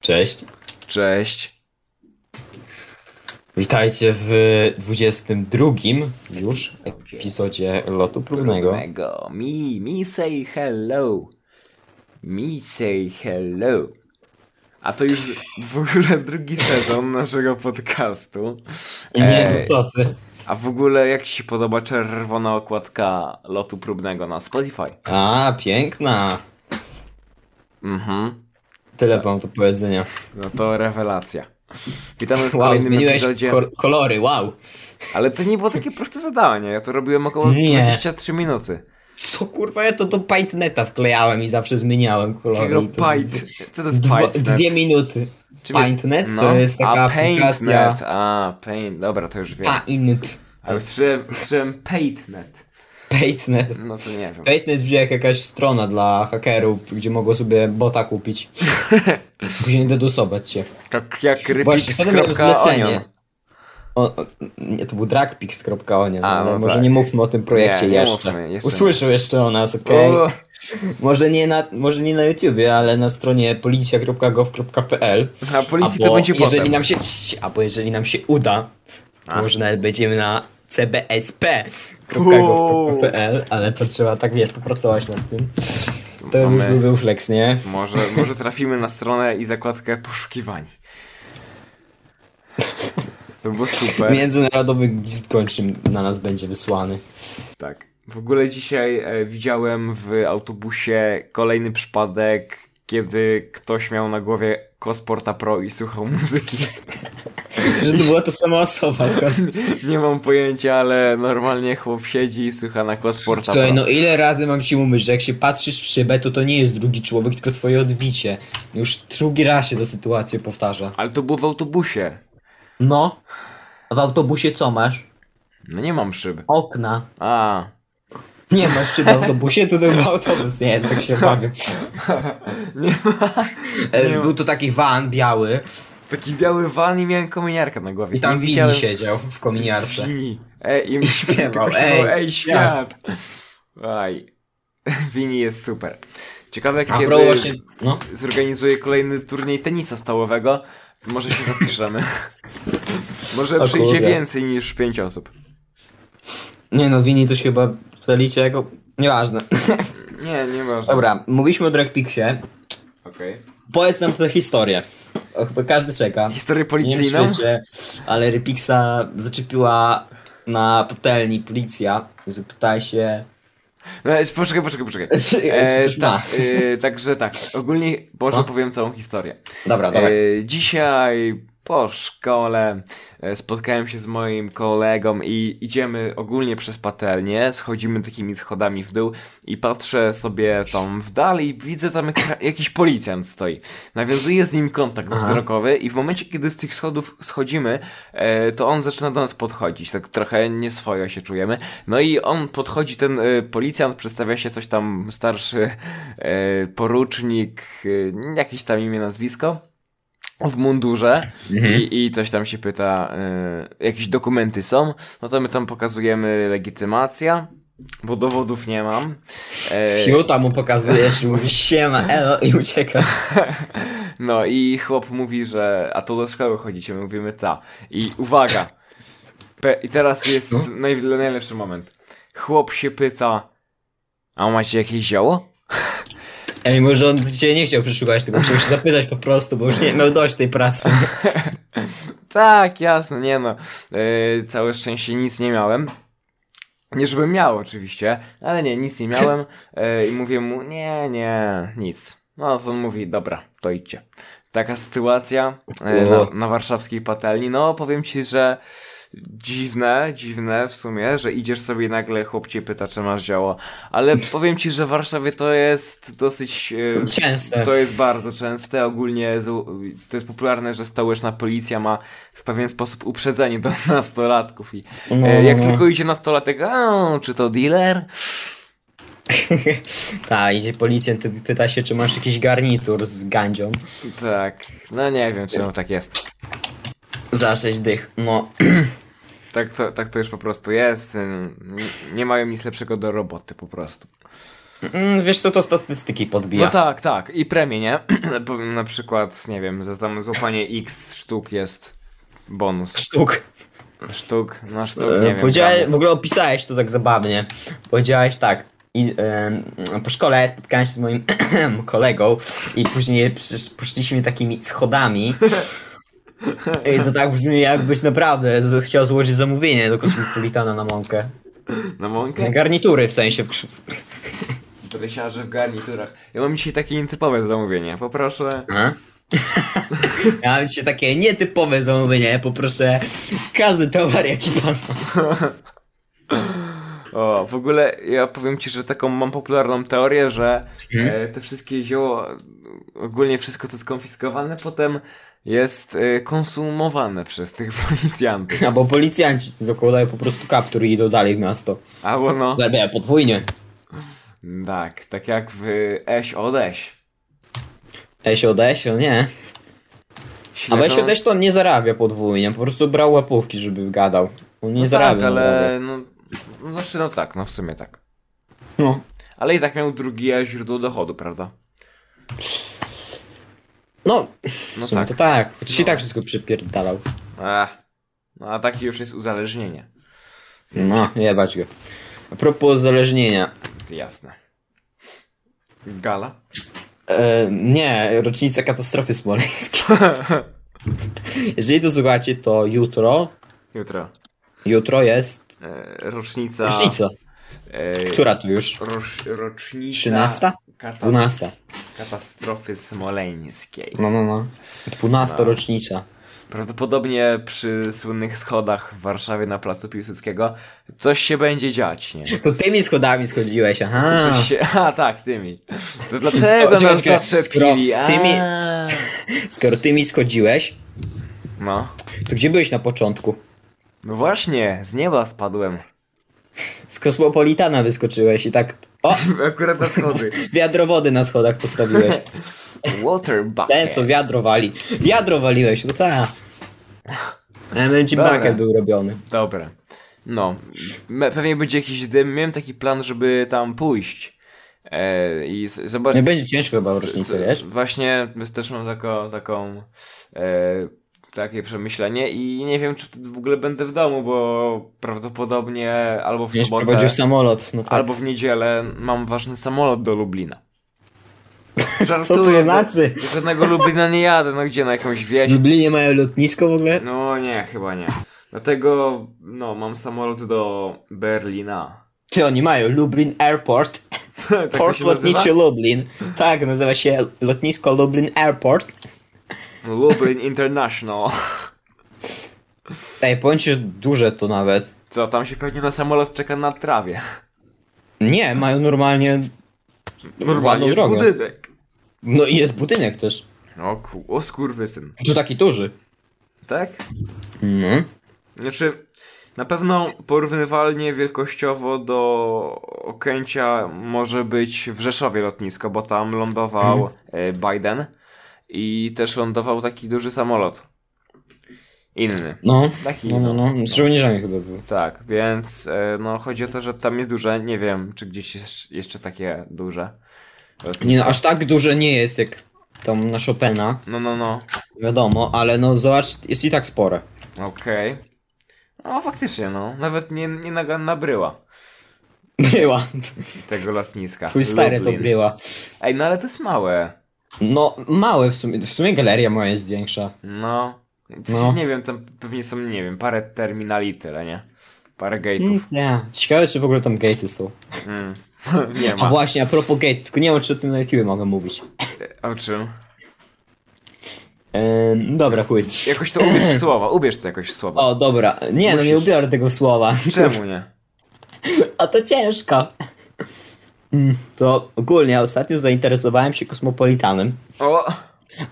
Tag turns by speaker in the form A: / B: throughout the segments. A: Cześć.
B: Cześć.
A: Witajcie w 22 już epizodzie lotu próbnego.
B: Mego. Mi, mi say hello. Mi say hello. A to już w ogóle drugi sezon naszego podcastu.
A: Nie, no
B: Ej.
A: co ty?
B: A w ogóle jak ci się podoba czerwona okładka lotu próbnego na Spotify?
A: A, piękna.
B: Mhm.
A: Tyle mam do powiedzenia.
B: No to rewelacja. Witamy w
A: Wow,
B: kolejnym
A: zmieniłeś
B: epizodzie.
A: kol- kolory, wow.
B: Ale to nie było takie proste zadanie. Ja to robiłem około
A: Nie.
B: 23 minuty.
A: Co kurwa, ja to do Paintneta wklejałem i zawsze zmieniałem kolory.
B: Jakiego
A: I to
B: Pint.
A: jest
B: Co to jest
A: Dwa,
B: Pint?
A: dwie minuty. Paintnet to jest taka
B: no, a, Paintnet.
A: aplikacja. Tak.
B: A, Paint. Dobra, to już wiem.
A: Paint.
B: Ale słyszałem, słyszałem Paintnet.
A: Paintnet.
B: No to nie wiem.
A: Paintnet brzmi jak jakaś strona dla hakerów, gdzie mogą sobie bota kupić. Później dedusować się.
B: Tak jak
A: Właśnie, to miałem
B: rybix.onion.
A: zlecenie. O, o, nie, to był dragpix.onion,
B: A,
A: ale
B: no
A: może
B: tak.
A: nie mówmy o tym projekcie
B: Nie, nie
A: jeszcze.
B: mówmy, jeszcze
A: Usłyszał jeszcze o nas, okej?
B: O,
A: Może, nie na, może nie na YouTubie, ale na stronie policja.gov.pl
B: A policji
A: albo
B: to będzie
A: jeżeli
B: potem.
A: nam się, Albo jeżeli nam się uda, to
B: A.
A: może nawet będziemy na cbsp.gov.pl, ale to trzeba tak, wiesz, popracować nad tym. To już
B: Mamy-
A: by był flex, nie?
B: Może, może trafimy na stronę i zakładkę poszukiwań. To było super.
A: Międzynarodowy list gończy na nas będzie wysłany.
B: Tak. W ogóle dzisiaj e, widziałem w autobusie kolejny przypadek, kiedy ktoś miał na głowie Kosporta Pro i słuchał muzyki.
A: Że to była ta sama osoba, skąd...
B: Nie mam pojęcia, ale normalnie chłop siedzi i słucha na Kosporta Pro.
A: Słuchaj, no ile razy mam ci mówić, że jak się patrzysz w szybę, to to nie jest drugi człowiek, tylko twoje odbicie. Już drugi raz się ta sytuacja powtarza.
B: Ale to było w autobusie.
A: No. A w autobusie co masz?
B: No nie mam szyb.
A: Okna.
B: A.
A: Nie masz szyb w autobusie, to tylko autobus nie jest, tak się bawię.
B: Nie ma.
A: E,
B: Nie ma.
A: Był to taki van biały
B: Taki biały van i miałem kominiarkę na głowie.
A: i tam
B: Nie
A: Wili siedział w kominiarce.
B: Wini. Ej, i mi
A: Śpiewał,
B: tylko
A: ej,
B: ej, świat. Aj. Wini jest super. Ciekawe,
A: A
B: kiedy
A: bro właśnie... No.
B: zorganizuje kolejny turniej tenisa stołowego, to może się zapiszemy. może
A: O
B: przyjdzie
A: kurde.
B: więcej niż 5 osób.
A: Nie no, Wini to się chyba zaliczy jako... Nieważne.
B: Nie, nie można.
A: Dobra, mówiliśmy o Dragpixie.
B: Okej.
A: Powiedz nam tę historię. O, Chyba każdy czeka.
B: Historię
A: Nie wiem,
B: policyjną?
A: wiecie, ale Rypixa zaczepiła na patelni policja. Zapytaj się...
B: No, poczekaj, poczekaj, poczekaj.
A: Czy, czy coś ma?
B: e, także tak, ogólnie Boże
A: No.
B: powiem całą historię.
A: Dobra, dobra.
B: E, dzisiaj po szkole e, spotkałem się z moim kolegą i idziemy ogólnie przez patelnię, schodzimy takimi schodami w dół i patrzę sobie tam w dal i widzę tam jak, jakiś policjant stoi. Nawiązuję z nim kontakt
A: Aha.
B: wzrokowy i w momencie, kiedy z tych schodów schodzimy, e, to on zaczyna do nas podchodzić, tak trochę nieswojo się czujemy. No i on podchodzi, ten e, policjant, przedstawia się coś tam starszy e, porucznik, e, jakieś tam imię, nazwisko w mundurze
A: Mhm.
B: i, i coś tam się pyta, y, jakieś dokumenty są, no to my tam pokazujemy legitymacja, bo dowodów nie mam. E,
A: Fiuta mu pokazujesz i mówisz siema, elo i ucieka.
B: no i chłop mówi, że a to do szkoły chodzicie, my mówimy ta. I uwaga, pe, i teraz jest
A: No.
B: naj, najlepszy moment. Chłop się pyta, a macie jakieś zioło?
A: Ej, może on cię nie chciał przeszukać, tylko chciał się zapytać po prostu, bo już nie miał dość tej pracy.
B: Tak, jasne, nie no. Yy, całe szczęście nic nie miałem. Nie żebym miał oczywiście, ale nie, nic nie miałem. Yy, I mówię mu, nie, nie, nic. No to on mówi, dobra, to idźcie. Taka sytuacja yy, na, na warszawskiej patelni. No powiem ci, że dziwne, dziwne w sumie, że idziesz sobie i nagle chłopcie pyta, czy masz działo. Ale powiem ci, że w Warszawie to jest dosyć... yy,
A: Częste.
B: to jest bardzo częste. Ogólnie z- to jest popularne, że stołeczna policja ma w pewien sposób uprzedzenie do nastolatków. I
A: No,
B: e, jak
A: no, no.
B: tylko idzie nastolatek, a czy to dealer?
A: Ta, idzie policjant i pyta się, czy masz jakiś garnitur z gandzią.
B: Tak, no nie wiem, czemu tak jest.
A: Za sześć dych. No,
B: Tak y, to, tak to już po prostu jest. Ym, n- Nie mają nic lepszego do roboty po prostu.
A: Mm, Wiesz co, to statystyki podbija.
B: No tak, tak. I premie, nie? Bo Na przykład, nie wiem, za tam złapanie X sztuk jest bonus.
A: Sztuk.
B: Sztuk, na sztuk,
A: E,
B: nie wiem.
A: powiedziałeś, w
B: gramów.
A: ogóle opisałeś to tak zabawnie. Powiedziałeś tak. I, em, po szkole spotkałem się z moim kolegą i później przysz- poszliśmy takimi schodami. I to tak brzmi, jakbyś naprawdę z- chciał złożyć zamówienie do kosmopolitana na mąkę.
B: Na
A: Na
B: mąkę?
A: garnitury w sensie. W krz-
B: Dresiarze w garniturach. Ja mam dzisiaj takie nietypowe zamówienie. Poproszę...
A: Ja mam dzisiaj takie nietypowe zamówienie, poproszę każdy towar jaki pan ma.
B: O, w ogóle ja powiem ci, że taką mam popularną teorię, że
A: Mhm.
B: e, te wszystkie zioło, ogólnie wszystko co jest konfiskowane, potem jest e, konsumowane przez tych policjantów.
A: Albo policjanci zakładają po prostu kaptur i idą dalej w miasto.
B: Albo no.
A: Zarabiają podwójnie.
B: Tak, tak jak w Eś odeś.
A: Esio Desio, nie. A
B: no.
A: Esio Desio to on nie zarabia podwójnie, po prostu brał łapówki, żeby gadał. On nie
B: no
A: zarabia.
B: Tak, ale no, no, znaczy, no tak, no w sumie tak.
A: No.
B: Ale i tak miał drugie źródło dochodu, prawda?
A: No,
B: No
A: w sumie
B: tak.
A: to tak. Chociaż i
B: No.
A: tak wszystko przypierdalał.
B: Ech, no a takie już jest uzależnienie.
A: No, jebać go. A propos uzależnienia.
B: Jasne. Gala?
A: E, nie, rocznica katastrofy smoleńskiej. Jeżeli to słuchacie, to jutro,
B: Jutro.
A: jutro jest
B: E, rocznica.
A: rocznica.
B: E,
A: Która tu już?
B: Roż, rocznica.
A: 13?
B: katas-
A: 12.
B: Katastrofy smoleńskiej.
A: No, no, no. 12 rocznica.
B: Prawdopodobnie przy słynnych schodach w Warszawie na placu Piłsudskiego coś się będzie dziać, nie?
A: To tymi schodami schodziłeś, aha.
B: Coś się... A tak, tymi. To dlatego
A: czekaj,
B: nas
A: czekaj,
B: zaczepili.
A: skoro
B: A.
A: tymi- Skoro tymi schodziłeś,
B: No.
A: to gdzie byłeś na początku?
B: No właśnie, z nieba spadłem.
A: Z kosmopolitana wyskoczyłeś i tak. O!
B: Akurat na schody.
A: Wiadro wody na schodach postawiłeś.
B: Tak Water bucket.
A: Ten co wiadro wali. Wiadro waliłeś, no ta. Emergency
B: Dobra.
A: bucket był robiony.
B: Dobra. No, me- pewnie będzie jakiś dym. Miałem taki plan, żeby tam pójść. E, I z-
A: Nie
B: zobaczyć.
A: będzie ciężko chyba w rocznicę,
B: Co-
A: wiesz?
B: Właśnie też mam taką, taką e, takie przemyślenie i nie wiem, czy wtedy w ogóle będę w domu, bo prawdopodobnie albo w
A: Będziesz
B: sobotę,
A: prowadził samolot, no tak.
B: albo w niedzielę mam ważny samolot do Lublina.
A: Co
B: Żartuję,
A: to
B: do-
A: znaczy?
B: do żadnego Lublina nie jadę, no gdzie, na jakąś
A: W
B: wieś?
A: Lublinie mają lotnisko w ogóle?
B: No nie, chyba nie. Dlatego, no, mam samolot do Berlina.
A: Czy oni mają? Lublin Airport.
B: tak to
A: Port
B: się nazywa?
A: lotniczy Lublin. Tak, nazywa się lotnisko Lublin Airport.
B: Lublin International.
A: Ej, powiem ci, że duże to nawet.
B: Co, tam się pewnie na samolot czeka na trawie.
A: Nie, mają normalnie.
B: Normalnie
A: ładną
B: jest
A: drogę.
B: budynek.
A: No i jest budynek też.
B: O, ku, o skurwysyn.
A: To taki duży.
B: Tak?
A: Mhm.
B: Znaczy, na pewno porównywalnie wielkościowo do Okęcia może być w Rzeszowie lotnisko, bo tam
A: Mhm.
B: lądował e, Biden i też lądował taki duży samolot. Inny.
A: No.
B: Taki,
A: No, no, no. Z żołnierzami chyba był.
B: Tak, więc e, no chodzi o to, że tam jest duże, nie wiem, czy gdzieś jest jeszcze takie duże. E, lotnisko.
A: Nie, no, aż tak duże nie jest jak tam na Chopina,
B: No, no, no.
A: wiadomo, ale no zobacz, jest i tak spore.
B: Okej. No faktycznie, no. Nawet nie, nie naga- nabryła
A: Bryła.
B: tego lotniska.
A: Twój stary to
B: Lublin.
A: bryła.
B: Ej, no ale to jest małe.
A: No, małe w sumie. W sumie galeria moja jest większa.
B: No. W sensie
A: No.
B: Nie wiem, tam pewnie są, nie wiem, parę terminali tyle, nie? Parę gate'ów.
A: Mm, Nie. Ciekawe, czy w ogóle tam gaty są.
B: Mm. nie
A: A
B: ma.
A: właśnie, a propos gate, tylko nie wiem, czy o tym na YouTube mogę mówić.
B: O czym?
A: Ehm, dobra, chuj.
B: Jakoś to ubierz w słowa, ubierz to jakoś w słowa.
A: O, dobra. Nie, no nie
B: Musisz.
A: ubiorę tego słowa.
B: Czemu nie?
A: A to ciężko. Mm, To ogólnie ostatnio zainteresowałem się kosmopolitanem.
B: O,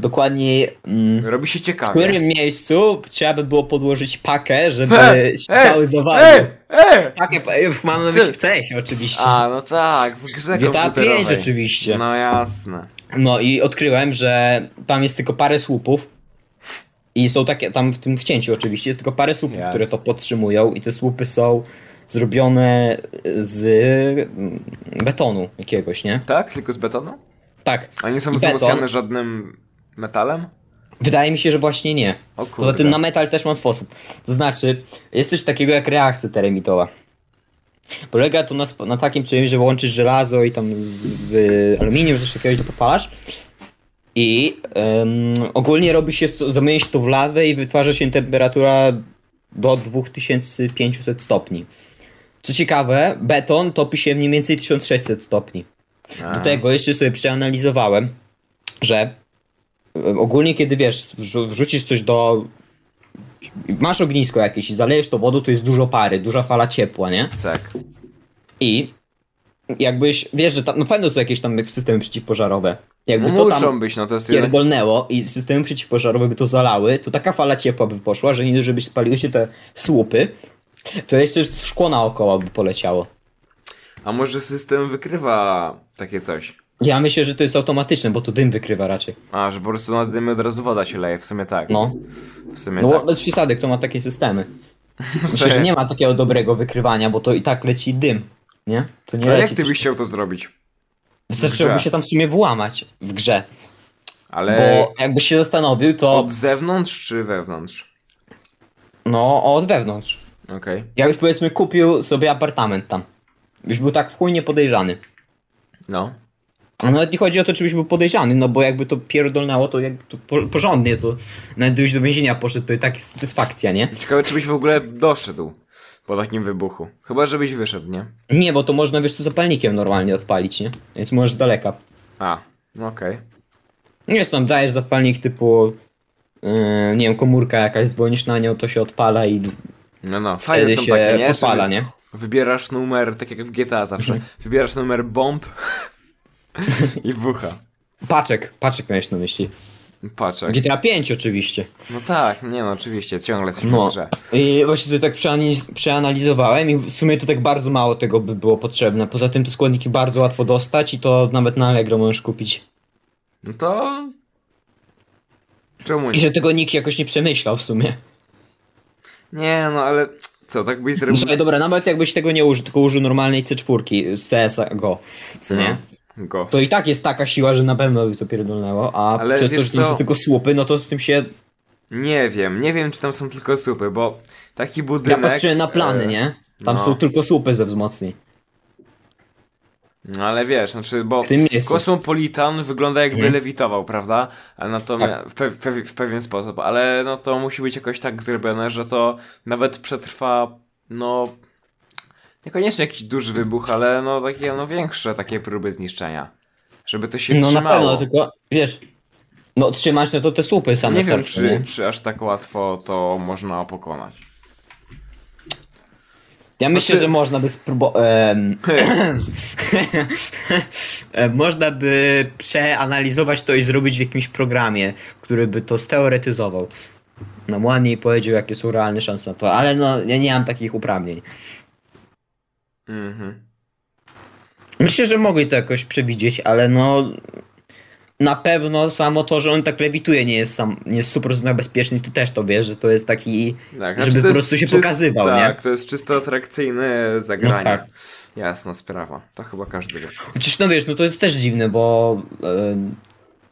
A: Dokładniej mm,
B: robi się
A: w
B: ciekawie.
A: którym miejscu trzeba by było podłożyć pakę, żeby
B: E,
A: się
B: e,
A: cały zawalił.
B: Ej, ej!
A: Pakę e, mam na myśli w CS oczywiście.
B: A, no tak, w
A: GTA
B: grze
A: 5
B: komputerowej.
A: oczywiście.
B: No jasne.
A: No i odkryłem, że tam jest tylko parę słupów. I są takie, tam w tym wcięciu oczywiście, jest tylko parę słupów,
B: Jasne.
A: które to podtrzymują i te słupy są zrobione z mm, betonu jakiegoś, nie?
B: Tak? Tylko z betonu?
A: Tak.
B: A nie są
A: I
B: wzmocnione
A: beton.
B: żadnym metalem?
A: Wydaje mi się, że właśnie nie.
B: O kurde.
A: Poza tym na metal też mam sposób. To znaczy, jest coś takiego jak reakcja teremitowa. Polega to na, sp- na takim czymś, że łączysz żelazo i tam z, z aluminium, coś takiego i to popalasz. I em, ogólnie robi się, to- zamienia się to w lawę i wytwarza się temperatura do 2500 stopni. Co ciekawe, beton topi się mniej więcej 1600 stopni.
B: A.
A: Do tego jeszcze sobie przeanalizowałem, że e, ogólnie kiedy wiesz, wrzu- wrzucisz coś do. Masz ognisko jakieś i zalejesz to wodą, to jest dużo pary, duża fala ciepła, nie?
B: Tak.
A: I jakbyś, wiesz, że tam na pewno są jakieś tam systemy przeciwpożarowe. Jakby to
B: Muszą
A: tam
B: być, no to jest jeden...
A: pierdolnęło i systemy przeciwpożarowe by to zalały, to taka fala ciepła by poszła, że nie dość, żeby spaliły się te słupy, to jeszcze szkło naokoło by poleciało.
B: A może system wykrywa takie coś?
A: Ja myślę, że to jest automatyczne, bo to dym wykrywa raczej.
B: A, że po prostu na dymy od razu woda się leje, w sumie tak.
A: No.
B: W sumie
A: No
B: tak.
A: bo bez przesady, kto ma takie systemy. Myślę,
B: Serio.
A: że nie ma takiego dobrego wykrywania, bo to i tak leci dym, nie? To nie
B: Ale jak
A: leci.
B: ty byś chciał to zrobić?
A: Zaczęłoby
B: grze?
A: się tam w sumie włamać w grze,
B: Ale
A: bo jakbyś się zastanowił, to
B: od zewnątrz czy wewnątrz?
A: no od wewnątrz.
B: Okej.
A: Jakbyś powiedzmy kupił sobie apartament tam. Byś był tak w chuj niepodejrzany.
B: No.
A: A nawet nie chodzi o to, czy byś był podejrzany, no bo jakby to pierdolnało, to jakby to po- porządnie, to nawet gdybyś do więzienia poszedł, to i tak jest satysfakcja, nie?
B: Ciekawe, czy byś w ogóle doszedł po takim wybuchu. Chyba, żebyś wyszedł, nie?
A: Nie, bo to można, wiesz co, zapalnikiem normalnie odpalić, nie? Więc możesz z daleka.
B: A, no okej.
A: Nie jest tam, dajesz zapalnik typu, yy, nie wiem, komórka jakaś, dzwonisz na nią, to się odpala i
B: No, no. Fajne
A: wtedy
B: są
A: się
B: takie, nie?
A: podpala,
B: Że
A: nie? Mhm.
B: Wybierasz numer, tak jak w GTA zawsze. Wybierasz numer bomb i bucha.
A: Paczek, paczek miałeś na myśli.
B: Paczek.
A: GTA 5 oczywiście.
B: No tak, nie no, oczywiście, ciągle jesteśmy
A: No.
B: w grze.
A: I właśnie to tak przeanaliz- przeanalizowałem i w sumie to tak bardzo mało tego by było potrzebne. Poza tym te składniki bardzo łatwo dostać i to nawet na Allegro możesz kupić.
B: No to... Czemu
A: I
B: nie?
A: że tego nikt jakoś nie przemyślał w sumie.
B: Nie no, ale co, tak byś
A: No
B: zrobił...
A: Słuchaj, dobra, nawet jakbyś tego nie użył, tylko użył normalnej C4 z CSGO, go, co nie?
B: No, Go.
A: To i tak jest taka siła, że na pewno by to pierdolnęło, a
B: Ale
A: przez to,
B: wiesz
A: że tam
B: co?
A: są tylko słupy, no to z tym się...
B: Nie wiem, nie wiem czy tam są tylko supy, bo taki
A: Ja
B: budynek...
A: patrzyłem na plany,
B: e,
A: nie? Tam
B: no.
A: są tylko słupy ze wzmocni.
B: No ale wiesz, znaczy, bo
A: W tym miejscu.
B: kosmopolitan wygląda jakby
A: Mhm.
B: lewitował, prawda? A natomiast
A: Tak.
B: w, pe- pe- w pewien sposób, ale no to musi być jakoś tak zrobione, że to nawet przetrwa, no niekoniecznie jakiś duży wybuch, ale no takie no większe takie próby zniszczenia. Żeby to się
A: No na
B: trzymało.
A: pewno, tylko wiesz... No trzymać, no to te słupy same
B: nie wiem,
A: starczą,
B: czy, czy aż tak łatwo to można pokonać.
A: Ja myślę,
B: Znaczy-
A: że można by spróbować. em, e, można by przeanalizować to i zrobić w jakimś programie, który by to steoretyzował. No ładniej powiedział, jakie są realne szanse na to, ale no ja nie mam takich uprawnień.
B: mhm.
A: Myślę, że mogli to jakoś przewidzieć, ale no. Na pewno samo to, że on tak lewituje, nie jest sam, nie jest 100% bezpieczny, ty też to wiesz, że to jest taki.
B: Tak,
A: Żeby
B: znaczy to
A: po
B: jest
A: prostu się
B: czyst-
A: pokazywał, nie?
B: Tak, to jest czysto atrakcyjne zagranie.
A: No tak.
B: Jasna sprawa. To chyba każdy wie.
A: Chociaż no wiesz, no to jest też dziwne, bo em,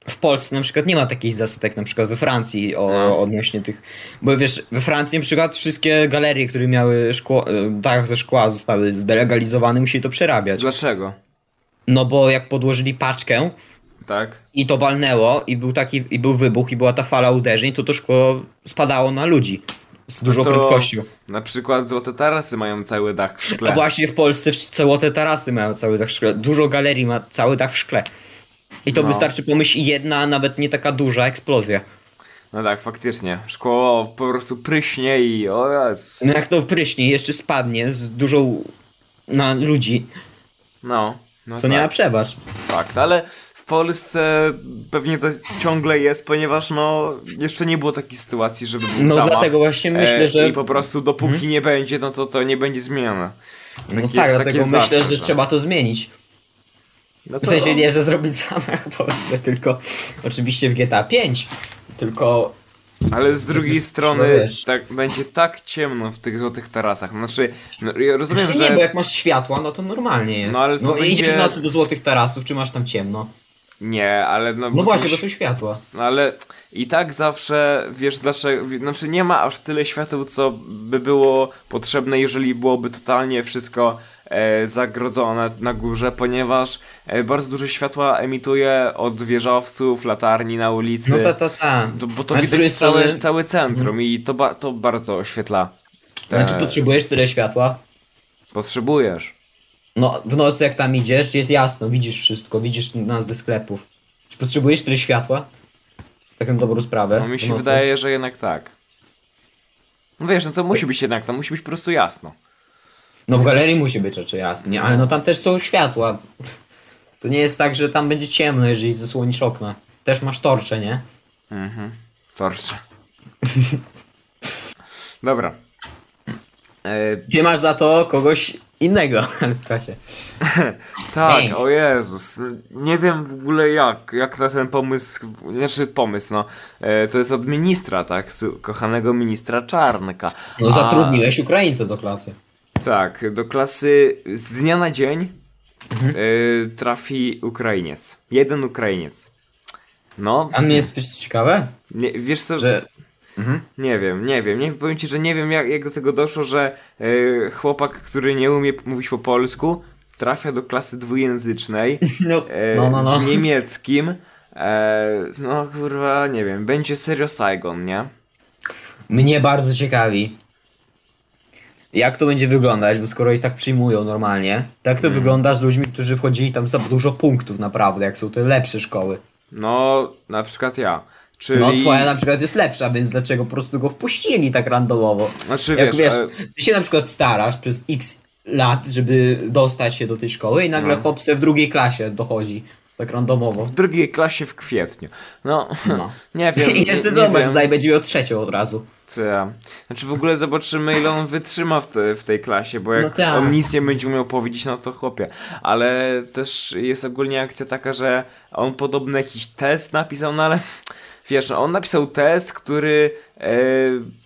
A: w Polsce na przykład nie ma takich zasad jak na przykład we Francji o,
B: No.
A: odnośnie tych. Bo wiesz, we Francji na przykład wszystkie galerie, które miały szkło, e, dach ze szkła zostały zdelegalizowane, musieli to przerabiać.
B: Dlaczego?
A: No bo jak podłożyli paczkę
B: Tak.
A: i to walnęło i był taki i był wybuch i była ta fala uderzeń, to to szkło spadało na ludzi z dużą
B: No to-
A: prędkością.
B: Na przykład złote tarasy mają cały dach w szkle.
A: A właśnie w Polsce wsz- złote tarasy mają cały dach w szkle. Dużo galerii ma cały dach w szkle. I to
B: No.
A: wystarczy pomyśl jedna, a nawet nie taka duża eksplozja.
B: No tak, faktycznie. Szkło po prostu pryśnie i o Jezus.
A: No jak to pryśnie, jeszcze spadnie z dużą na ludzi,
B: No. No
A: to nie ma
B: tak,
A: przebacz.
B: fakt, ale w Polsce pewnie to ciągle jest, ponieważ no jeszcze nie było takiej sytuacji, żeby był
A: No
B: zamach.
A: dlatego właśnie myślę,
B: E,
A: że... Mhm.
B: I po prostu dopóki nie będzie, no to to nie będzie zmienione.
A: No
B: jest-
A: tak,
B: tak
A: dlatego
B: jest
A: myślę,
B: zawsze, No
A: że
B: że-
A: trzeba to zmienić.
B: No
A: W sensie nie, że zrobić zamach w Polsce, tylko oczywiście w GTA 5. Tylko
B: Ale z drugiej strony
A: No wiesz.
B: tak, będzie tak ciemno w tych złotych tarasach. Znaczy, no, ja rozumiem,
A: Znaczy nie, bo
B: że
A: jak masz światła, no to normalnie jest.
B: No,
A: No,
B: ale to będzie-
A: idziesz w nocy do złotych tarasów, czy masz tam ciemno?
B: nie, ale no,
A: No
B: bo
A: właśnie,
B: są
A: bo są światła.
B: No ale i tak zawsze wiesz dlaczego. wi- Znaczy nie ma aż tyle świateł, co by było potrzebne, jeżeli byłoby totalnie wszystko e, zagrodzone na górze, ponieważ e, bardzo dużo światła emituje od wieżowców, latarni na ulicy.
A: No ta, ta, ta.
B: To- bo to
A: Ale z
B: widać
A: drugiej
B: całe,
A: strony- Mhm.
B: całe centrum i to, ba- to bardzo oświetla. Te-
A: Znaczy potrzebujesz tyle światła?
B: Potrzebujesz.
A: No, w nocy jak tam idziesz, jest jasno, widzisz wszystko, widzisz nazwy sklepów. Czy potrzebujesz tyle światła? Taką dobrą sprawę.
B: No mi
A: w
B: się
A: nocy.
B: wydaje, że jednak tak. No wiesz, no to
A: Tak.
B: musi być jednak, to musi być po prostu jasno.
A: No w galerii musi być raczej jasno, nie? ale no tam też są światła. To nie jest tak, że tam będzie ciemno, jeżeli zasłonisz okna. Też masz torcze, nie?
B: Mhm. Torcze. Dobra. E,
A: Gdzie masz za to kogoś innego w klasie.
B: tak,
A: Pięć.
B: o Jezus. Nie wiem w ogóle jak, jak na ten pomysł, znaczy pomysł, no. E, to jest od ministra, tak? Z kochanego ministra Czarnka.
A: No
B: A-
A: zatrudniłeś Ukraińców do klasy.
B: Tak, do klasy z dnia na dzień
A: Mhm.
B: e, trafi Ukrainiec. Jeden Ukrainiec. No,
A: A mnie jest coś ciekawe,
B: nie, wiesz co,
A: że...
B: Nie wiem, nie wiem. Nie powiem ci, że nie wiem jak, jak do tego doszło, że e, chłopak, który nie umie p- mówić po polsku, trafia do klasy dwujęzycznej
A: No,
B: e,
A: no, no. no.
B: z niemieckim. E, no kurwa, nie wiem, będzie serio Saigon, nie?
A: Mnie bardzo ciekawi, jak to będzie wyglądać, bo skoro i tak przyjmują normalnie, to jak to
B: Mm.
A: wygląda z ludźmi, którzy wchodzili tam za dużo punktów naprawdę, jak są te lepsze szkoły.
B: No, na przykład ja. Czyli.
A: No twoja na przykład jest lepsza, więc dlaczego po prostu go wpuścili tak randomowo?
B: Znaczy
A: jak
B: wiesz,
A: wiesz,
B: e,
A: ty się na przykład starasz przez x lat, żeby dostać się do tej szkoły i nagle
B: No.
A: no. w drugiej klasie dochodzi, tak randomowo.
B: w drugiej klasie w kwietniu. No,
A: No.
B: nie wiem.
A: I jeszcze
B: nie
A: zobacz,
B: wiem.
A: zdaj będzie miał trzecią od razu.
B: Co ja? Znaczy w ogóle zobaczymy ile on wytrzyma w, te, w tej klasie, bo jak
A: No tak.
B: on nic nie będzie umiał powiedzieć, no to chłopie. Ale też jest ogólnie akcja taka, że on podobno jakiś test napisał, no ale wiesz, no, on napisał test, który e,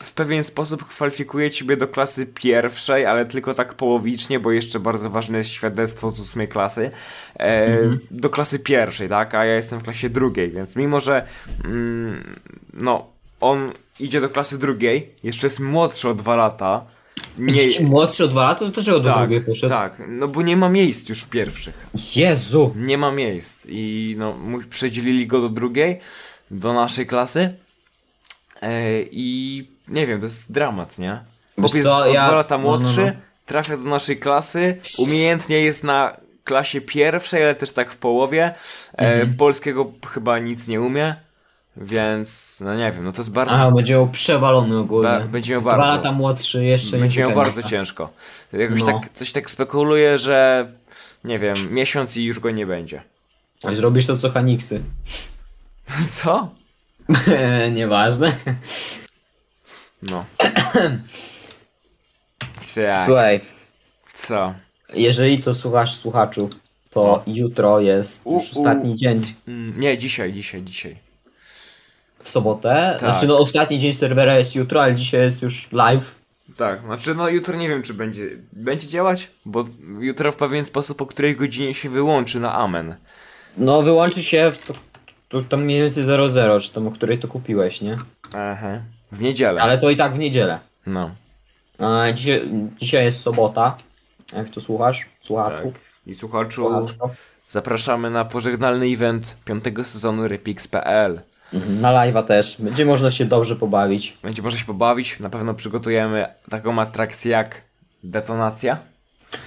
B: w pewien sposób kwalifikuje ciebie do klasy pierwszej, ale tylko tak połowicznie, bo jeszcze bardzo ważne jest świadectwo z ósmej klasy. E, Do klasy pierwszej, tak? A ja jestem w klasie drugiej, więc mimo, że mm, no, on idzie do klasy drugiej, jeszcze jest młodszy o dwa lata.
A: Jeśli
B: Nie,
A: Młodszy od dwa lata, to dlaczego do
B: tak,
A: drugiej poszedł?
B: tak, no bo nie ma miejsc już w pierwszych
A: Jezu!
B: nie ma miejsc i no, mu- przedzielili go do drugiej, do naszej klasy e, i nie wiem, to jest dramat, nie?
A: Wiesz
B: Chłop jest
A: co,
B: o
A: ja-
B: dwa lata
A: no, no, no.
B: młodszy, trafia do naszej klasy, umiejętnie jest na klasie pierwszej, ale też tak w połowie, e,
A: Mhm.
B: polskiego p- chyba nic nie umie, więc no nie wiem, no to jest bardzo...
A: A, będzie miał przewalony ogólnie.
B: Ba- będzie miał
A: Z
B: bardzo.
A: Dwa lata młodszy, jeszcze
B: Będzie miał bardzo
A: ciężko.
B: ciężko. Jakoś
A: tak. No.
B: tak, coś tak spekuluje, że nie wiem, miesiąc i już go nie będzie.
A: Zrobisz to co Haniksy.
B: Co?
A: Nieważne.
B: No. tak.
A: Słuchaj,
B: Co?
A: jeżeli to słuchasz słuchaczu, to jutro jest
B: No. U,
A: już
B: u.
A: ostatni dzień
B: Mm, Nie, dzisiaj, dzisiaj, dzisiaj.
A: w sobotę.
B: Tak.
A: Znaczy no ostatni dzień serwera jest jutro, ale dzisiaj jest już live.
B: Tak, znaczy no jutro nie wiem czy będzie, będzie działać, bo jutro w pewien sposób o której godzinie się wyłączy na amen.
A: No wyłączy się w to, to, tam mniej więcej 00, czy tam o której to kupiłeś, nie?
B: Aha. W niedzielę.
A: Ale to i tak w niedzielę.
B: No.
A: A, E, dzisiaj, dzisiaj jest sobota. Jak to słuchasz?
B: Tak.
A: Słuchaczu?
B: I słuchaczu,
A: Słuchaczu.
B: zapraszamy na pożegnalny event piątego sezonu Repix.pl.
A: Mhm, Na live'a też. Będzie można się dobrze pobawić.
B: Będzie można się pobawić, na pewno przygotujemy taką atrakcję jak detonacja.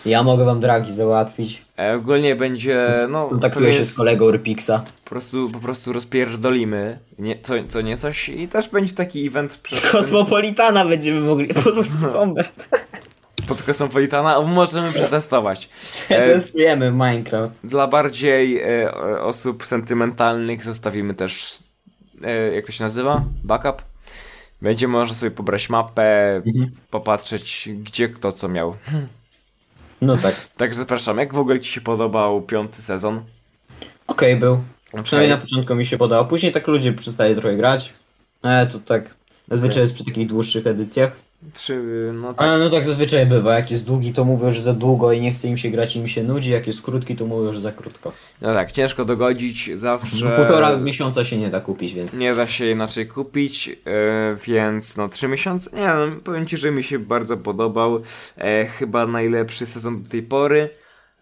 A: Ja mogę wam dragi załatwić.
B: E, ogólnie będzie,
A: E,
B: no...
A: Kontaktuję się
B: pewien-
A: z kolegą Rypixa.
B: Po prostu, po prostu rozpierdolimy nie, co, co nie coś i też będzie taki event przed
A: Kosmopolitana będziemy mogli podłożyć bombę.
B: pod Kosmopolitana, a możemy przetestować.
A: Testujemy Minecraft.
B: Dla bardziej e, o- osób sentymentalnych zostawimy też, e, jak to się nazywa? Backup. Będzie można sobie pobrać mapę,
A: Mhm.
B: popatrzeć gdzie kto co miał.
A: No tak.
B: Także zapraszam, jak w ogóle Ci się podobał piąty sezon?
A: Okej był.
B: Okej.
A: Przynajmniej na początku mi się podobał. Później tak ludzie przestali trochę grać. E, to tak Zazwyczaj jest przy takich dłuższych edycjach.
B: Trzy, no tak.
A: A, no tak zazwyczaj bywa. Jak jest długi, to mówią, że za długo i nie chce im się grać i im się nudzi. Jak jest krótki, to mówią, że za krótko.
B: No tak, ciężko dogodzić zawsze.
A: No, półtora miesiąca się nie da kupić, więc...
B: Nie da się inaczej kupić, e, więc no trzy miesiące. Nie, no, powiem ci, że mi się bardzo podobał. E, chyba najlepszy sezon do tej pory.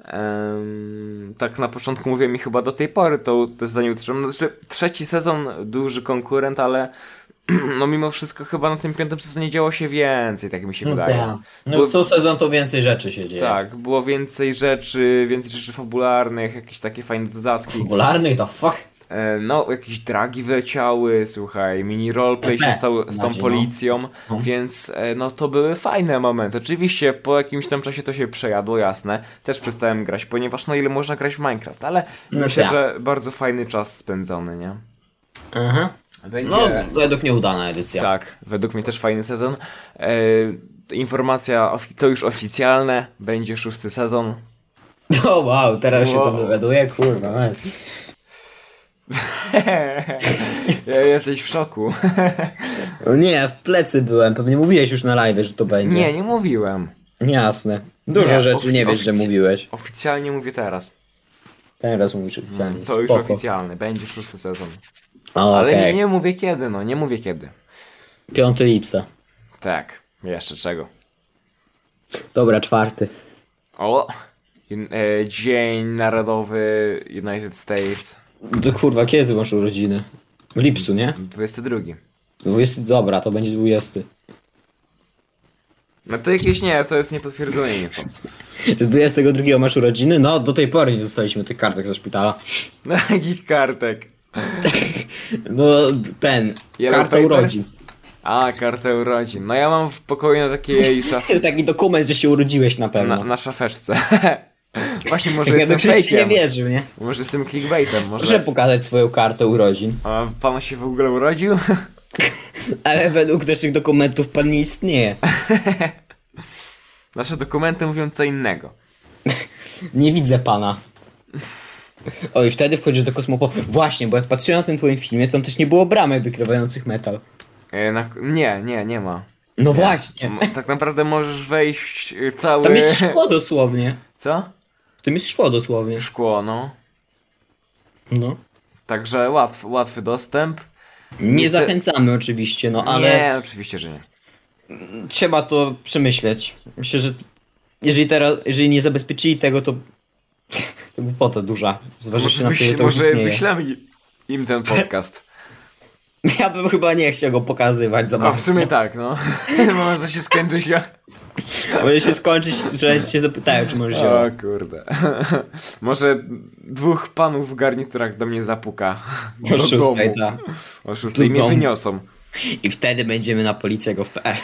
B: Em, tak na początku mówiłem i chyba do tej pory to, to zdanie utrzymam. No, Znaczy, trzeci sezon duży konkurent, ale no mimo wszystko chyba na tym piątym sezonie działo się więcej, tak mi się
A: No,
B: wydaje.
A: tak. no
B: Bo-
A: co sezon to więcej rzeczy się dzieje.
B: Tak, było więcej rzeczy, więcej rzeczy fabularnych, jakieś takie fajne dodatki.
A: Popularnych to fuck.
B: E, No, jakieś dragi wyleciały, słuchaj, mini roleplay się stało z tą
A: Bardziej, no.
B: policją,
A: No.
B: więc e, no to były fajne momenty. Oczywiście po jakimś tam czasie to się przejadło, jasne, też przestałem grać, ponieważ no ile można grać w Minecraft, ale
A: No
B: myślę,
A: tak.
B: że bardzo fajny czas spędzony, nie?
A: Aha.
B: Będzie...
A: No, według mnie udana edycja.
B: Tak, według mnie też fajny sezon. E, informacja, ofi- to już oficjalne, będzie szósty sezon.
A: O wow, teraz się to
B: Wow.
A: dowiaduje, kurwa. mać.
B: Ja Jesteś w szoku.
A: O No Nie, w plecy byłem, pewnie mówiłeś już na live, że to będzie. No
B: Nie, nie mówiłem.
A: Jasne. Dużo
B: Nie,
A: rzeczy
B: ofi-
A: nie wiesz, że
B: ofic-
A: mówiłeś.
B: Oficjalnie mówię teraz.
A: Teraz mówisz oficjalnie.
B: To już
A: Spoko.
B: oficjalny, będzie szósty sezon.
A: O,
B: Ale
A: okej.
B: nie, nie mówię kiedy, no nie mówię kiedy.
A: 5 lipca.
B: Tak, jeszcze czego.
A: Dobra, czwarty.
B: O! In, e, Dzień Narodowy United States
A: To kurwa, kiedy masz urodziny? W lipcu, nie?
B: 22.
A: 20, dobra, to będzie 20.
B: No to jakieś nie, to jest niepotwierdzone info.
A: Z 22 masz urodziny? No, do tej pory nie dostaliśmy tych kartek ze szpitala.
B: No jakich kartek?
A: No, ten,
B: Yellow
A: karta
B: Papers?
A: urodzin.
B: A, kartę urodzin. No ja mam w pokoju na takiej
A: To jest tak
B: szafce.
A: taki dokument, że się urodziłeś na
B: Na,
A: pewno.
B: na szafeczce. Właśnie No, może
A: Tak jakby
B: jestem
A: ktoś ci nie
B: fejkiem.
A: wierzył, nie?
B: Może jestem clickbaitem,
A: Proszę
B: może.
A: pokazać swoją kartę urodzin.
B: A pan się w ogóle urodził?
A: Ale według naszych dokumentów pan nie istnieje.
B: Nasze dokumenty mówią co innego.
A: Nie widzę pana. O, i wtedy wchodzisz do kosmopo. Właśnie, bo jak patrzyłem na tym twoim filmie, to tam też nie było bramy wykrywających metal.
B: E, na, nie, nie, nie ma.
A: No
B: Nie.
A: właśnie.
B: M- Tak naprawdę możesz wejść y, cały.
A: Tam jest szkło dosłownie.
B: Co?
A: Tam jest szkło dosłownie.
B: Szkło, no.
A: No.
B: Także łatw, łatwy dostęp.
A: Nie
B: Niestety-
A: zachęcamy oczywiście, no ale
B: Nie, oczywiście, że nie.
A: trzeba to przemyśleć. Myślę, że jeżeli teraz, jeżeli nie zabezpieczyli tego, to to głupota duża. Zważywszy na to, że
B: wyś-
A: to już
B: może
A: istnieje.
B: wyślemy im- im ten podcast.
A: Ja bym chyba nie chciał go pokazywać za
B: No w
A: bardzo.
B: sumie tak, no. może się skończy się.
A: Może się skończyć, że się zapytają, czy możesz
B: O
A: wziąć.
B: kurde. może dwóch panów w garniturach do mnie zapuka.
A: O
B: Do
A: szóstej,
B: domu.
A: tak.
B: O szóstej
A: Do
B: mnie
A: domu.
B: wyniosą.
A: I wtedy będziemy na policję go w E. PL.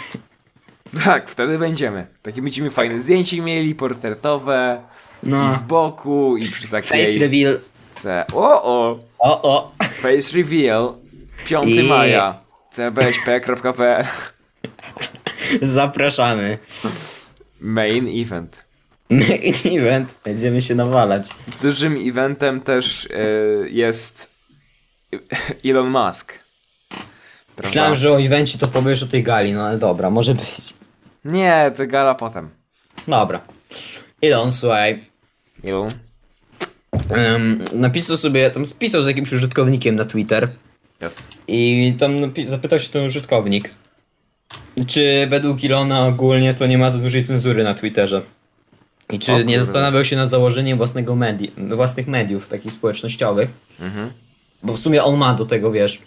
B: Tak, wtedy będziemy. Takie będziemy fajne zdjęcie mieli, portretowe. I z tak
A: No.
B: boku, i przy
A: Face
B: takiej...
A: reveal.
B: Te... O, o!
A: O, o.
B: Face reveal 5
A: I-
B: maja. cbsp.pl
A: Zapraszamy.
B: Main event.
A: Main event. Będziemy się nawalać.
B: Dużym eventem też e, jest Elon Musk. Prawda?
A: Myślałem, że o evencie to powiesz o tej gali, no ale dobra, może być.
B: Nie, to gala potem.
A: Dobra. Elon, słuchaj.
B: Elon.
A: em, napisał sobie, tam spisał z jakimś użytkownikiem na Twitter.
B: Yes.
A: I tam napi- zapytał się ten użytkownik. Czy według Ilona ogólnie to nie ma za dużej cenzury na Twitterze? I
B: O
A: czy nie
B: kurde.
A: zastanawiał się nad założeniem własnego medi- własnych mediów, takich społecznościowych?
B: Mhm.
A: Bo w sumie on ma do tego, wiesz,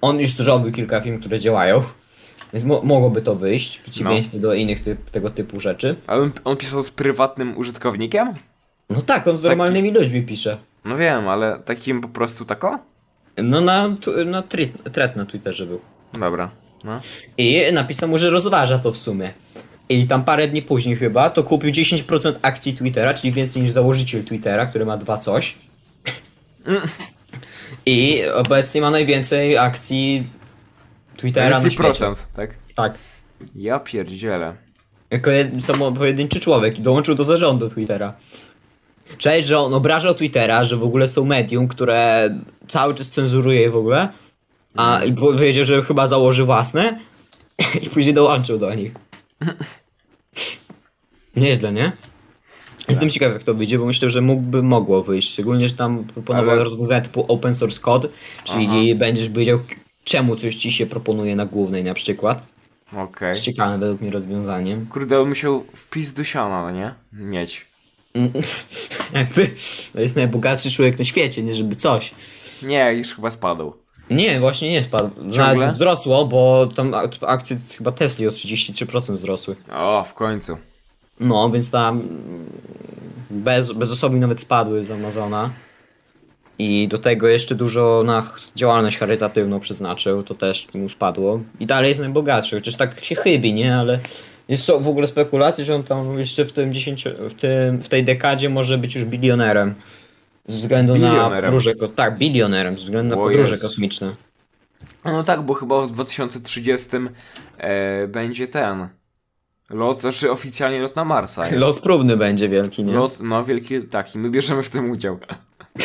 A: on już zrobił kilka film, które działają, więc mo- mogłoby to wyjść, w
B: No.
A: przeciwieństwie do innych typ- tego typu rzeczy.
B: Ale on, on pisał z prywatnym użytkownikiem?
A: No tak, on z
B: Taki-
A: normalnymi ludźmi pisze.
B: No wiem, ale takim po prostu tako?
A: No na, tu- na tri- thread na Twitterze był.
B: Dobra. No.
A: I napisał mu, że rozważa to w sumie. I tam parę dni później chyba, to kupił 10% akcji Twittera, czyli więcej niż założyciel Twittera, który ma dwa coś.
B: Mm.
A: I obecnie ma najwięcej akcji Twittera na
B: Teraz
A: świecie.
B: procent, tak?
A: Tak.
B: Ja pierdzielę.
A: Jako jed- samo pojedynczy człowiek i dołączył do zarządu Twittera. Cześć, że on obrażał Twittera, że w ogóle są medium, które cały czas cenzuruje w ogóle. A
B: Mhm.
A: i powiedział, że chyba założy własne i później dołączył do nich. Nieźle, nie?
B: Tak.
A: Jestem ciekaw jak to wyjdzie, bo myślę, że mógłby mogło wyjść. Szczególnie, że tam proponował
B: Ale-
A: rozwiązania typu open source code, czyli będziesz wiedział k- czemu coś ci się proponuje na głównej na przykład.
B: Okej.
A: Jest ciekawe według mnie rozwiązaniem.
B: Kurde, on musiał wpis do siana, no nie? Mieć.
A: Mm. Jakby to jest najbogatszy człowiek na świecie, nie żeby coś.
B: Nie, już chyba spadł.
A: Nie, właśnie nie spadł.
B: Ciągle?
A: Nawet wzrosło, bo tam ak- akcje chyba Tesli o 33% wzrosły.
B: O, w końcu.
A: No, więc tam mm, bez, bez osoby nawet spadły z Amazona. I do tego jeszcze dużo na ch- działalność charytatywną przeznaczył, to też mu spadło. I dalej jest najbogatszy, chociaż tak się chybi, nie? Ale jest są w ogóle spekulacje, że on tam jeszcze w tym 10, w, tym, w tej dekadzie może być już bilionerem. Ze względu na
B: Bilionerem.
A: podróże, ko- tak, bilionerem, ze względu na
B: O
A: podróże
B: Jezus.
A: kosmiczne.
B: No tak, bo chyba w 2030 e, będzie ten. Lot, znaczy oficjalnie lot na Marsa. Tak Jest.
A: Lot próbny będzie wielki, nie?
B: Lot, no wielki, tak, i my bierzemy w tym udział.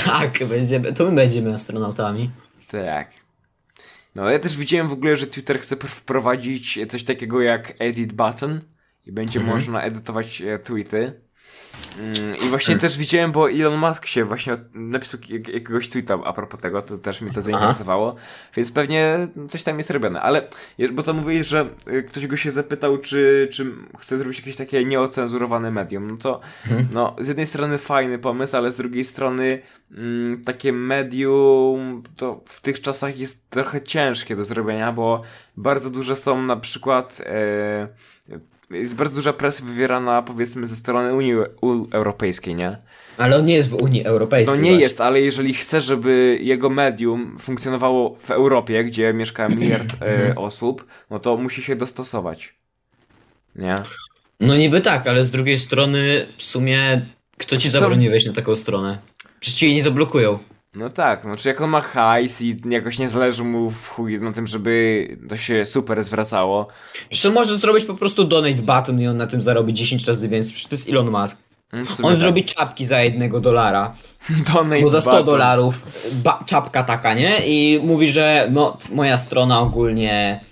A: Tak, będziemy, to my będziemy astronautami.
B: Tak. No ja też widziałem w ogóle, że Twitter chce pr- wprowadzić coś takiego jak edit button i będzie
A: Mhm.
B: można edytować e, tweety. Mm, I właśnie też widziałem, bo Elon Musk się właśnie od- napisał jak- jakiegoś tweeta a propos tego, to też mnie to zainteresowało, więc pewnie coś tam jest robione, ale je- bo to mówiłeś, że y, ktoś go się zapytał, czy, czy chce zrobić jakieś takie nieocenzurowane medium, no to no, z jednej strony fajny pomysł, ale z drugiej strony mm, takie medium to w tych czasach jest trochę ciężkie do zrobienia, bo bardzo duże są na przykład. E, jest bardzo duża presja wywierana powiedzmy ze strony Unii U- Europejskiej, nie?
A: Ale on nie jest w Unii
B: To
A: Europejskiej.
B: nie jest, ale jeżeli chce, żeby jego medium funkcjonowało w Europie, gdzie mieszka miliard e, osób, no to musi się dostosować. Nie?
A: No niby tak, ale z drugiej strony w sumie kto ci
B: Co?
A: zabroni wejść na taką stronę? Przecież ci jej nie zablokują.
B: No tak, znaczy jak on ma hajs i jakoś nie zależy mu w chuj na tym, żeby to się super zwracało.
A: Przecież on może zrobić po prostu donate button i on na tym zarobi 10 razy więcej. Przecież to jest Elon Musk.
B: No, w sumie
A: On
B: tak.
A: zrobi czapki za jednego dolara.
B: Donate
A: Bo za 100
B: button.
A: dolarów ba- czapka taka, nie? I mówi, że no, moja strona ogólnie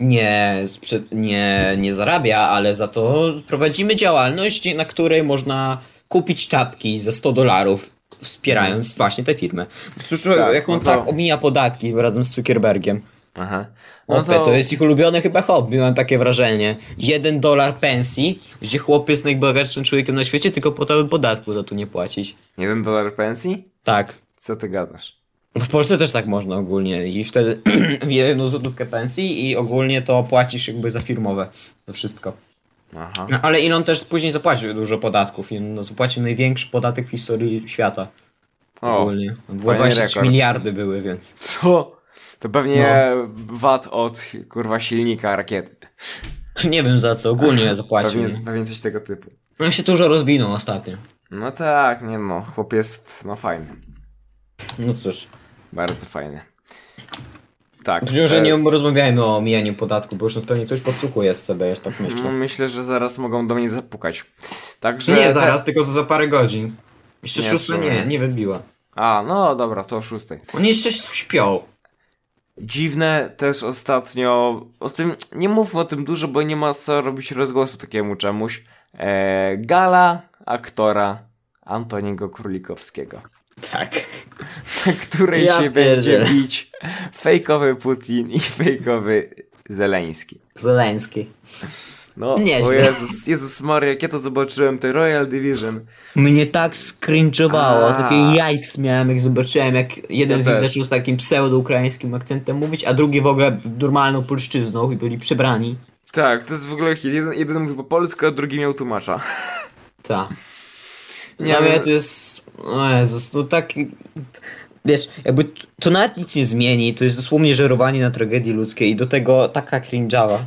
A: nie, sprze- nie, nie zarabia, ale za to prowadzimy działalność, na której można kupić czapki za 100 dolarów, wspierając właśnie tę firmę. Cóż,
B: Mhm. Tak,
A: jak on
B: no to-
A: tak omija podatki razem z Zuckerbergiem.
B: Aha. No
A: No
B: to,
A: to jest ich ulubione chyba hobby, mam takie wrażenie. Jeden dolar pensji, gdzie chłop jest najbogatszym człowiekiem na świecie, tylko po to, by podatku za to nie płacić.
B: Jeden dolar pensji?
A: Tak.
B: Co ty gadasz?
A: W Polsce też tak można ogólnie i wtedy jedną złotówkę pensji i ogólnie to płacisz jakby za firmowe, za wszystko.
B: Aha.
A: No, ale Elon też później zapłacił dużo podatków, Elon no, zapłacił największy podatek w historii świata
B: O,
A: ogólnie. Było
B: fajny
A: 23
B: rekord.
A: miliardy były, więc...
B: co? To pewnie
A: No.
B: VAT od kurwa silnika rakiety.
A: Nie wiem za co, ogólnie zapłacił.
B: Pewnie,
A: nie?
B: pewnie coś tego typu.
A: On się dużo rozwinął ostatnio.
B: No tak, nie no, chłop jest no fajny.
A: No cóż. bardzo.
B: Bardzo fajny. Tak.
A: Przecież,
B: e,
A: że nie rozmawiajmy o omijaniu podatku, bo już nas pewnie ktoś podsłuchuje z CBS, tak
B: no,
A: myślę.
B: myślę, że zaraz mogą do mnie zapukać. Także.
A: Nie
B: te-
A: zaraz, tylko za parę godzin. Jeszcze
B: tak. Nie,
A: szósta
B: słuchaj.
A: nie, nie wybiła.
B: A, no dobra, to o szóstej.
A: Oni jeszcze śpią.
B: Dziwne też ostatnio. O tym nie mówmy o tym dużo, bo nie ma co robić rozgłosu takiemu czemuś. E, gala aktora Antoniego Królikowskiego,
A: Tak.
B: na której
A: Ja
B: się będzie
A: pierdzielę.
B: bić fejkowy Putin i fejkowy Zeleński.
A: Zeleński.
B: No,
A: Nieźle.
B: o Jezus, Jezus Maria, jak ja to zobaczyłem, te Royal Division.
A: Mnie tak skringe'owało,
B: A.
A: takie jajks miałem, jak zobaczyłem, jak jeden
B: Ja
A: z nich
B: też.
A: zaczął z takim pseudo-ukraińskim akcentem mówić, a drugi w ogóle normalną polszczyzną i byli przebrani.
B: Tak, to jest w ogóle hit. Jeden, jeden mówił po polsku, a drugi miał tłumacza.
A: Tak.
B: Nie,
A: Nie, ja
B: no-
A: mówię, to jest... O Jezus, to tak... Wiesz, jakby t- to nawet nic nie zmieni, to jest dosłownie żerowanie na tragedii ludzkiej i do tego taka cringe'awa.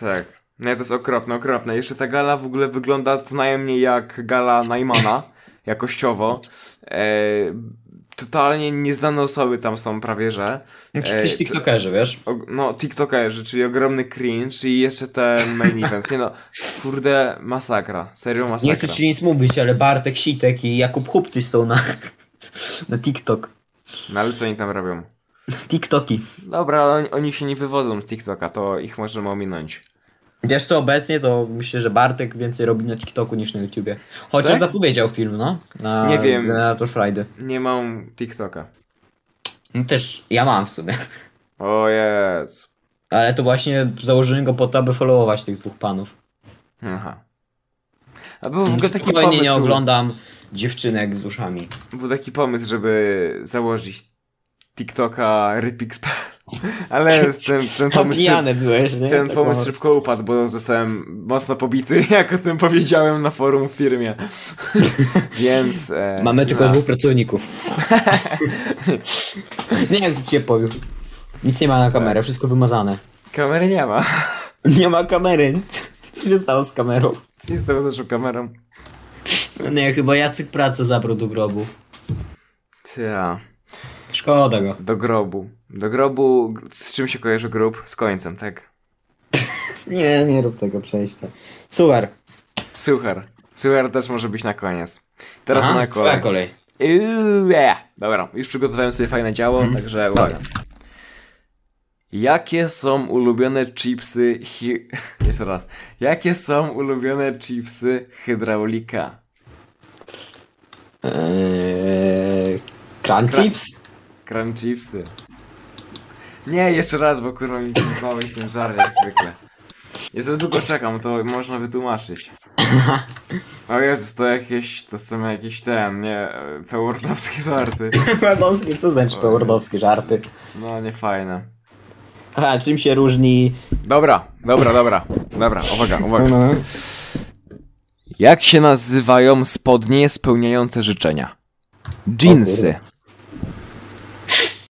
B: Tak. No to jest okropne, okropne. Jeszcze ta gala w ogóle wygląda co najmniej jak gala Najmana, jakościowo. E, totalnie nieznane osoby tam są prawie, że.
A: Jakiś
B: Ej,
A: Ej,
B: to-
A: tiktokerzy, wiesz?
B: O, no, TikTokerzy, czyli ogromny cringe i jeszcze ten main event. Nie no, kurde, masakra. Serio
A: Nie
B: masakra.
A: chcę ci nic mówić, ale Bartek Sitek i Jakub Huptyś są na... na TikTok.
B: No ale co oni tam robią?
A: TikToki.
B: Dobra, ale oni, oni się nie wywodzą z TikToka, to ich możemy ominąć.
A: Wiesz co, obecnie to myślę, że Bartek więcej robi na TikToku niż na YouTubie. Chociaż
B: Tak?
A: zapowiedział film, no. Na,
B: Nie wiem.
A: Na to Friday.
B: Nie mam TikToka.
A: No też ja mam w sumie.
B: O Jezu.
A: Ale to właśnie założyłem go po to, aby followować tych dwóch panów.
B: Aha. A był w ogóle taki
A: Spokojnie
B: pomysł,
A: nie oglądam dziewczynek z uszami.
B: był taki pomysł, żeby założyć TikToka Rypix.pl, ale ten, ten pomysł, szyb,
A: Opijany byłeś, nie?
B: ten
A: Tak
B: pomysł
A: mało.
B: szybko upadł, bo zostałem mocno pobity, jak o tym powiedziałem na forum w firmie. Więc... E,
A: Mamy tylko
B: no.
A: dwóch pracowników. nie jak ci się powiem. Nic nie ma na kamerę, wszystko wymazane.
B: Kamery nie ma.
A: Nie ma kamery. Co się stało z kamerą?
B: Co się stało z naszą kamerą?
A: Nie, chyba Jacek pracę zabrał do grobu.
B: Ja.
A: Szkoda go.
B: Do grobu. Do grobu, z czym się kojarzy grób? Z końcem, tak?
A: Nie, nie rób tego przejścia. Super.
B: Suchar. Suchar też może być na koniec. Teraz
A: Aha,
B: na
A: twoja
B: kolej.
A: kolej.
B: Uuu, e. Dobra, już przygotowałem sobie fajne działo, także uwaga. Jakie są ulubione chipsy hi... Jeszcze raz. Jakie są ulubione chipsy hydraulika?
A: Eee, crunch
B: Kra-
A: chips?
B: Crunch chipsy. Nie, jeszcze raz, bo kurwa mi zbałeś ten żar jak zwykle. Ja za długo czekam, to można wytłumaczyć. O Jezus, to jakieś, to są jakieś ten, nie, e, pełordowskie żarty.
A: Pełordowskie, co znaczy pełordowskie żarty?
B: No, nie fajne.
A: A czym się różni...
B: Dobra, dobra, dobra, dobra, uwaga, uwaga.
A: No,
B: Jak się nazywają spodnie spełniające życzenia? Jeansy.